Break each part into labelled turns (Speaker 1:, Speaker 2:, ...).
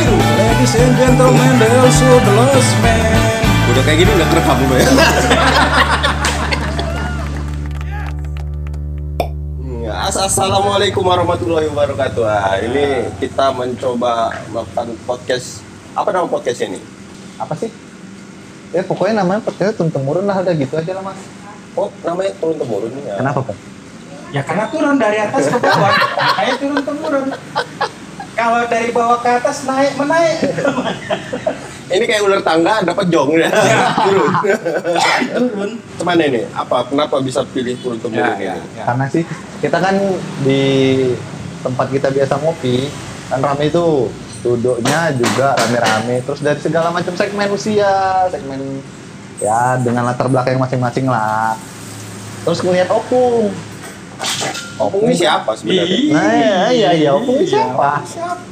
Speaker 1: Ladies and gentlemen, they also the lost man. Udah kayak gini udah kerekam gue ya.
Speaker 2: Iya, as- Assalamualaikum warahmatullahi wabarakatuh. Ah, ini kita mencoba melakukan podcast. Apa nama podcast ini?
Speaker 3: apa sih? Ya pokoknya namanya podcast turun temurun lah udah gitu aja lah mas.
Speaker 2: Oh, namanya turun temurun ya.
Speaker 3: Kenapa pak?
Speaker 1: ya karena turun dari atas ke bawah, kayak turun temurun. Kalau dari bawah ke atas naik menaik.
Speaker 2: Ini kayak ular tangga dapat jong ya. turun.
Speaker 1: turun.
Speaker 2: Cuman ini apa? Kenapa bisa pilih turun temurun
Speaker 3: Ya,
Speaker 2: ini?
Speaker 3: Karena sih kita kan di tempat kita biasa ngopi kan rame itu duduknya juga rame-rame terus dari segala macam segmen usia segmen ya dengan latar belakang masing-masing lah terus ngelihat opung
Speaker 2: Oh, ini siapa sebenarnya?
Speaker 3: nah iya iya, iya opung ini
Speaker 1: Iya.
Speaker 3: siapa
Speaker 1: Siapa?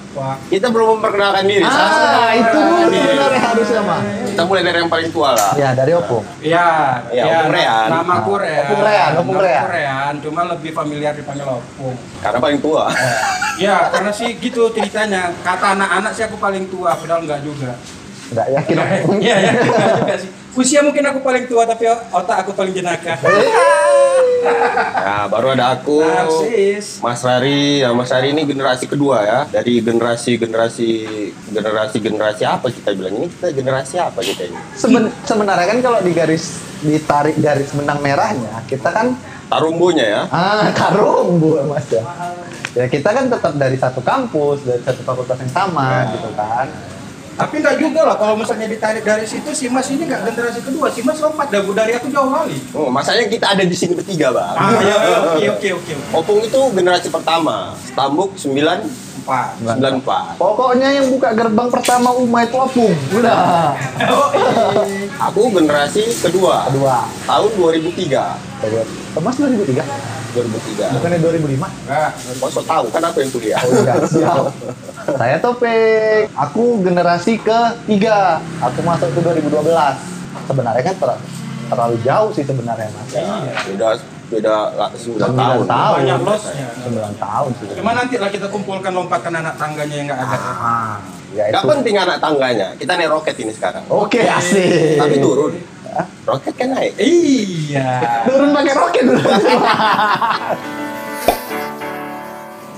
Speaker 2: Kita belum memperkenalkan diri.
Speaker 3: ah itu dulu sebenarnya harusnya mah
Speaker 2: Kita mulai dari yang paling tua lah.
Speaker 3: ya dari opung
Speaker 1: Ya,
Speaker 2: Ya, Opung Rean.
Speaker 1: Nama Korea.
Speaker 3: Opung Rean, Opung Rean.
Speaker 1: cuma lebih familiar dipanggil Opung.
Speaker 2: Karena paling tua.
Speaker 1: Ya, karena sih gitu ceritanya. Kata anak-anak sih aku paling tua, padahal enggak juga.
Speaker 3: nggak yakin opung
Speaker 1: Iya, ya, enggak juga sih. Usia mungkin aku paling tua, tapi otak aku paling jenaka.
Speaker 2: Nah, baru ada aku.
Speaker 1: Narsis.
Speaker 2: Mas Rari, ya, Mas Rari ini generasi kedua ya dari generasi generasi generasi generasi apa kita bilang ini kita generasi apa kita ini
Speaker 3: Seben- sebenarnya kan kalau di garis ditarik garis benang merahnya kita kan
Speaker 2: tarumbunya ya
Speaker 3: ah karumbu mas ya ya kita kan tetap dari satu kampus dari satu fakultas yang sama gitu kan
Speaker 1: Tapi enggak juga lah kalau misalnya ditarik dari situ si Mas ini enggak generasi kedua, si Mas lompat dari dari aku jauh kali.
Speaker 2: oh masanya kita ada di sini bertiga bang
Speaker 3: iya,
Speaker 1: Ah, ya, ya, oke oke oke.
Speaker 2: Opung itu generasi pertama Stambuk 9
Speaker 1: Empat.
Speaker 2: 94
Speaker 3: pokoknya yang buka gerbang pertama Uma itu opung udah
Speaker 1: Oh,
Speaker 2: aku generasi kedua
Speaker 3: kedua
Speaker 2: tahun 2003
Speaker 3: Mas 2003
Speaker 2: 2003
Speaker 3: bukannya 2005
Speaker 1: enggak.
Speaker 2: kok so tahu kan aku yang kuliah
Speaker 3: Oh iya, siap. Saya Topik. Aku generasi ketiga. Aku masuk ke 2012. Sebenarnya kan ter- terlalu jauh sih sebenarnya mas.
Speaker 2: ya, beda beda 9
Speaker 3: Sembilan
Speaker 2: tahun
Speaker 3: tahun.
Speaker 1: Banyak losnya.
Speaker 3: 9 tahun sih.
Speaker 1: Cuma nanti lah kita kumpulkan lompatan anak tangganya yang enggak ada.
Speaker 3: Ah, ya
Speaker 2: Gak
Speaker 3: itu.
Speaker 2: penting anak tangganya kita naik roket ini sekarang
Speaker 3: Oke, asik.
Speaker 2: tapi turun roket kan naik
Speaker 1: Iya.
Speaker 3: Turun pakai roket dulu.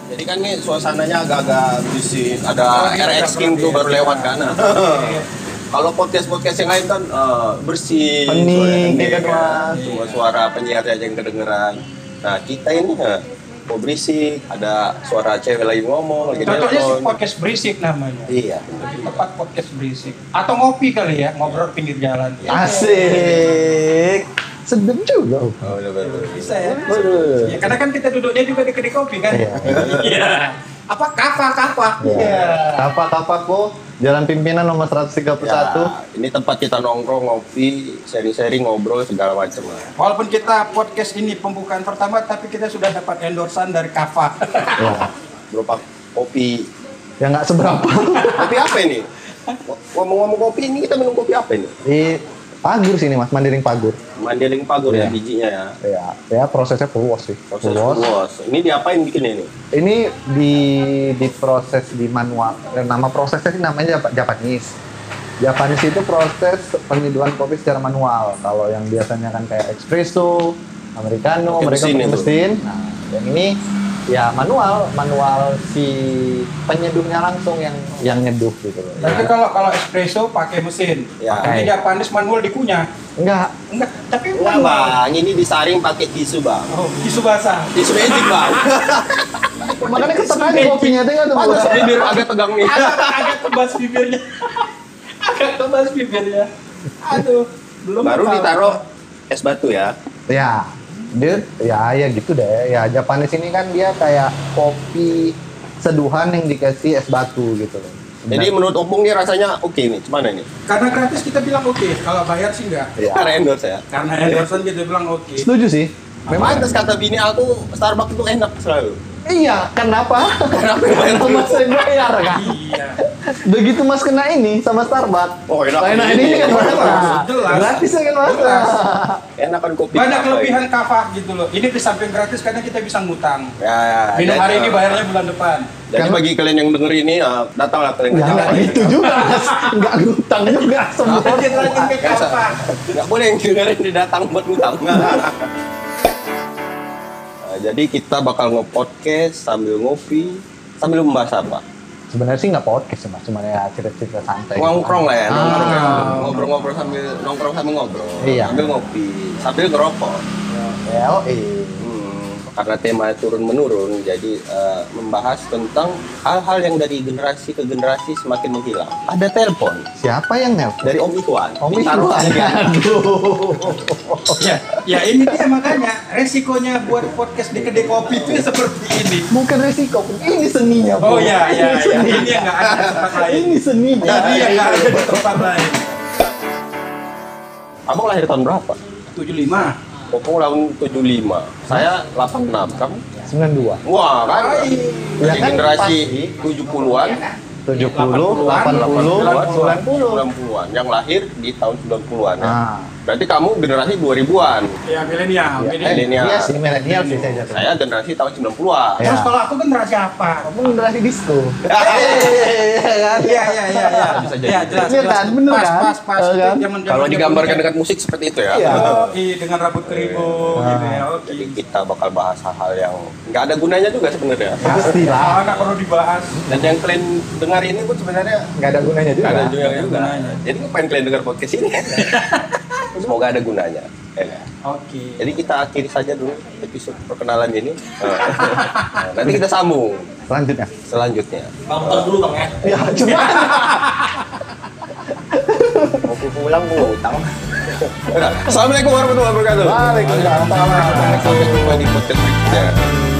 Speaker 2: Jadi kan nih suasananya agak-agak bising. Ada
Speaker 1: Iya,
Speaker 2: RX King tuh baru lewat kan. Kalau podcast-podcast yang lain kan eh, bersih,
Speaker 3: Hening,
Speaker 2: suaranya
Speaker 3: ya kan,
Speaker 2: kan.
Speaker 1: Mas?
Speaker 2: Cuma suara penyiarnya aja yang kedengeran. Nah kita ini eh, mau berisik, ada suara cewek lagi ngomong, lagi
Speaker 1: Cocoknya sih
Speaker 2: nelpon.
Speaker 1: Iya. podcast berisik namanya.
Speaker 2: Iya.
Speaker 1: Tempat podcast berisik. Atau ngopi kali ya, ngobrol pinggir jalan.
Speaker 3: Asik. Sedap juga. Om.
Speaker 2: Oh, bener, bener, bener.
Speaker 1: Bisa ya.
Speaker 3: Waduh.
Speaker 1: Ya, karena kan kita duduknya juga di kedai kopi kan.
Speaker 3: Iya.
Speaker 1: Iya. Apa kafa kafa? Iya.
Speaker 3: Kapa-kapako, Ya. Jalan Pimpinan nomor 131.
Speaker 2: Ya, ini tempat kita nongkrong, ngopi, seri-seri ngobrol segala macam lah.
Speaker 1: Walaupun kita podcast ini pembukaan pertama, tapi kita sudah dapat endorsan dari kafa.
Speaker 3: Ya.
Speaker 2: Berupa kopi.
Speaker 3: Ya nggak seberapa.
Speaker 2: Kopi apa ini? Ngomong-ngomong kopi ini kita minum kopi apa ini?
Speaker 3: Di Pagur sini mas, Mandiring Pagur.
Speaker 2: Mandeling Pagur ya
Speaker 3: Iya.
Speaker 2: bijinya ya.
Speaker 3: Ya, ya prosesnya purwos sih.
Speaker 2: Proses
Speaker 3: Purwos.
Speaker 2: luas. Ini diapain bikinnya ini?
Speaker 3: Ini di diproses di manual. Eh, Nama prosesnya sih namanya Jap- Japanese. Japanese itu proses penyeduhan kopi secara manual. Kalau yang biasanya kan kayak espresso, americano,
Speaker 2: Pakai
Speaker 3: mereka
Speaker 2: mesin
Speaker 3: pakai
Speaker 2: itu.
Speaker 3: mesin. Nah, yang ini ya manual, manual si penyeduhnya langsung yang yang nyeduh gitu loh.
Speaker 1: Tapi kalau kalau espresso pakai mesin.
Speaker 2: Ya.
Speaker 1: Tapi dia panas manual dikunyah.
Speaker 3: Enggak,
Speaker 1: Enggak, tapi
Speaker 2: Enggak bang, ini disaring pakai tisu bang.
Speaker 1: Oh, tisu basah.
Speaker 2: Tisu magic bang.
Speaker 3: makanya ketekan kopinya itu nggak
Speaker 2: Panas
Speaker 3: tuh.
Speaker 2: bibir agak tegang nih.
Speaker 1: agak agak kebas bibirnya agak kebas bibirnya aduh belum
Speaker 2: Baru
Speaker 1: apa-apa.
Speaker 2: ditaruh es batu ya.
Speaker 3: Ya, dia ya ya gitu deh. Ya Japanese ini kan dia kayak kopi seduhan yang dikasih es batu gitu loh.
Speaker 2: Jadi menurut Opung ini rasanya oke nih. Cuman ini?
Speaker 1: karena gratis kita bilang oke kalau bayar sih enggak
Speaker 3: Ya.
Speaker 2: Karena endorse ya.
Speaker 1: karena endorsean kita bilang oke
Speaker 3: setuju sih.
Speaker 2: Memang atas kata bini aku Starbucks itu enak selalu.
Speaker 3: Iya, kenapa? Kenapa Mas saya bayar kan?
Speaker 1: Iya.
Speaker 3: Begitu Mas kena ini sama Starbucks.
Speaker 2: Oh, enak.
Speaker 3: Saya enak ini kan Mas.
Speaker 1: Jelas.
Speaker 3: Gratis ya kan Mas.
Speaker 1: Jelas.
Speaker 2: Enakan kopi.
Speaker 1: Banyak
Speaker 2: apa
Speaker 1: kelebihan
Speaker 2: ini?
Speaker 1: kafah gitu loh. Ini di samping gratis karena kita bisa ngutang.
Speaker 2: Ya, ya,
Speaker 1: Minum
Speaker 2: jadi-
Speaker 1: hari ini bayarnya bulan depan.
Speaker 2: Jadi
Speaker 3: Kalau-
Speaker 2: bagi kalian yang denger ini, ya, datanglah kalian ke
Speaker 3: Ya enggak
Speaker 2: Jawa.
Speaker 3: gitu juga Mas. Enggak ngutang juga semua.
Speaker 1: Lanjut lagi ke
Speaker 2: Oh, Biasa.
Speaker 1: kafah.
Speaker 2: Nggak boleh yang dengerin ini datang buat ngutang. Nggak. Nah, Jadi kita bakal nge-podcast sambil ngopi, sambil membahas apa?
Speaker 3: Sebenarnya sih nggak podcast sih Mas, cuma ya cerita-cerita santai.
Speaker 2: Ngongkrong lah ya,
Speaker 3: Ah.
Speaker 2: nongkrong. ngobrol-ngobrol sambil nongkrong sambil ngobrol,
Speaker 3: Iya.
Speaker 2: sambil ngopi, sambil ngerokok.
Speaker 3: Ya, oh, eh.
Speaker 2: Hmm, karena tema turun menurun, jadi eh, membahas tentang hal-hal yang dari generasi ke generasi semakin menghilang. Ada telepon
Speaker 3: Siapa yang nelpon?
Speaker 2: dari Om Ikhwan.
Speaker 3: Om
Speaker 2: Minta
Speaker 3: Iwan.
Speaker 2: ruangnya. Oh, iya.
Speaker 1: Ya, ya ini dia makanya resikonya buat podcast di kedai kopi itu ya seperti ini.
Speaker 3: Bukan resiko, ini seninya.
Speaker 1: Oh
Speaker 3: Bro.
Speaker 1: ya,
Speaker 3: Ini
Speaker 1: ya, ya.
Speaker 3: seninya.
Speaker 1: Ini yang nggak ada di tempat lain.
Speaker 3: Ini seninya.
Speaker 1: Jadi yang nggak ada di tempat lain.
Speaker 2: Abang lahir tahun berapa?
Speaker 1: 75.
Speaker 2: Popong tahun 75, saya 86, kamu?
Speaker 3: 92.
Speaker 2: Wah, kan?
Speaker 3: Ya
Speaker 2: Dari
Speaker 3: kan,
Speaker 2: generasi
Speaker 3: pasti.
Speaker 2: 70-an,
Speaker 3: 70,
Speaker 2: 80-an,
Speaker 3: 80, 90.
Speaker 2: 90-an, yang lahir di tahun 90-an ya.
Speaker 3: Nah,
Speaker 2: Berarti kamu generasi 2000-an,
Speaker 1: Ya
Speaker 3: ya,
Speaker 1: milenial. milenial.
Speaker 2: milenial.
Speaker 3: Iya sih, milenial sih saya jatuh.
Speaker 2: saya generasi tahun 90-an.
Speaker 3: Ya.
Speaker 1: Terus kalau aku kan generasi apa?
Speaker 3: Kamu generasi disco. kan?
Speaker 1: Iya, iya, iya, iya.
Speaker 2: Bisa jadi.
Speaker 1: Iya, jelas.
Speaker 3: Iya
Speaker 1: jelas.
Speaker 3: kan, bener
Speaker 1: pas,
Speaker 3: kan?
Speaker 1: Pas, pas,
Speaker 3: Iya kan?
Speaker 1: Itu zaman-zaman
Speaker 2: Kalau
Speaker 1: dia
Speaker 2: digambarkan
Speaker 1: punya-
Speaker 2: dengan musik seperti itu ya.
Speaker 3: Iya.
Speaker 1: Oh, iya, dengan rambut keribu
Speaker 3: Nah.
Speaker 1: gitu ya. Oke.
Speaker 2: Jadi kita bakal bahas hal-hal yang nggak ada gunanya juga sebenarnya.
Speaker 1: Ah,
Speaker 3: Pastilah.
Speaker 1: nggak perlu dibahas.
Speaker 2: Dan yang kalian dengar ini pun sebenarnya
Speaker 3: Nggak ada gunanya juga.
Speaker 2: nggak ada juga.
Speaker 1: Nggak ada gunanya.
Speaker 2: Jadi ngapain kalian dengar podcast ini? Semoga ada gunanya. Ya nggak?
Speaker 1: Oke.
Speaker 2: Jadi kita akhiri saja dulu episode perkenalan ini. Nah, Nanti kita sambung
Speaker 3: Lanjutnya.
Speaker 2: selanjutnya.
Speaker 1: Bang, bentar dulu Bang ya.
Speaker 3: Ya, cuma
Speaker 2: Mau pulang mau utang. Assalamualaikum warahmatullahi wabarakatuh.
Speaker 3: Waalaikumsalam.
Speaker 2: Sampai jumpa di podcast berikutnya.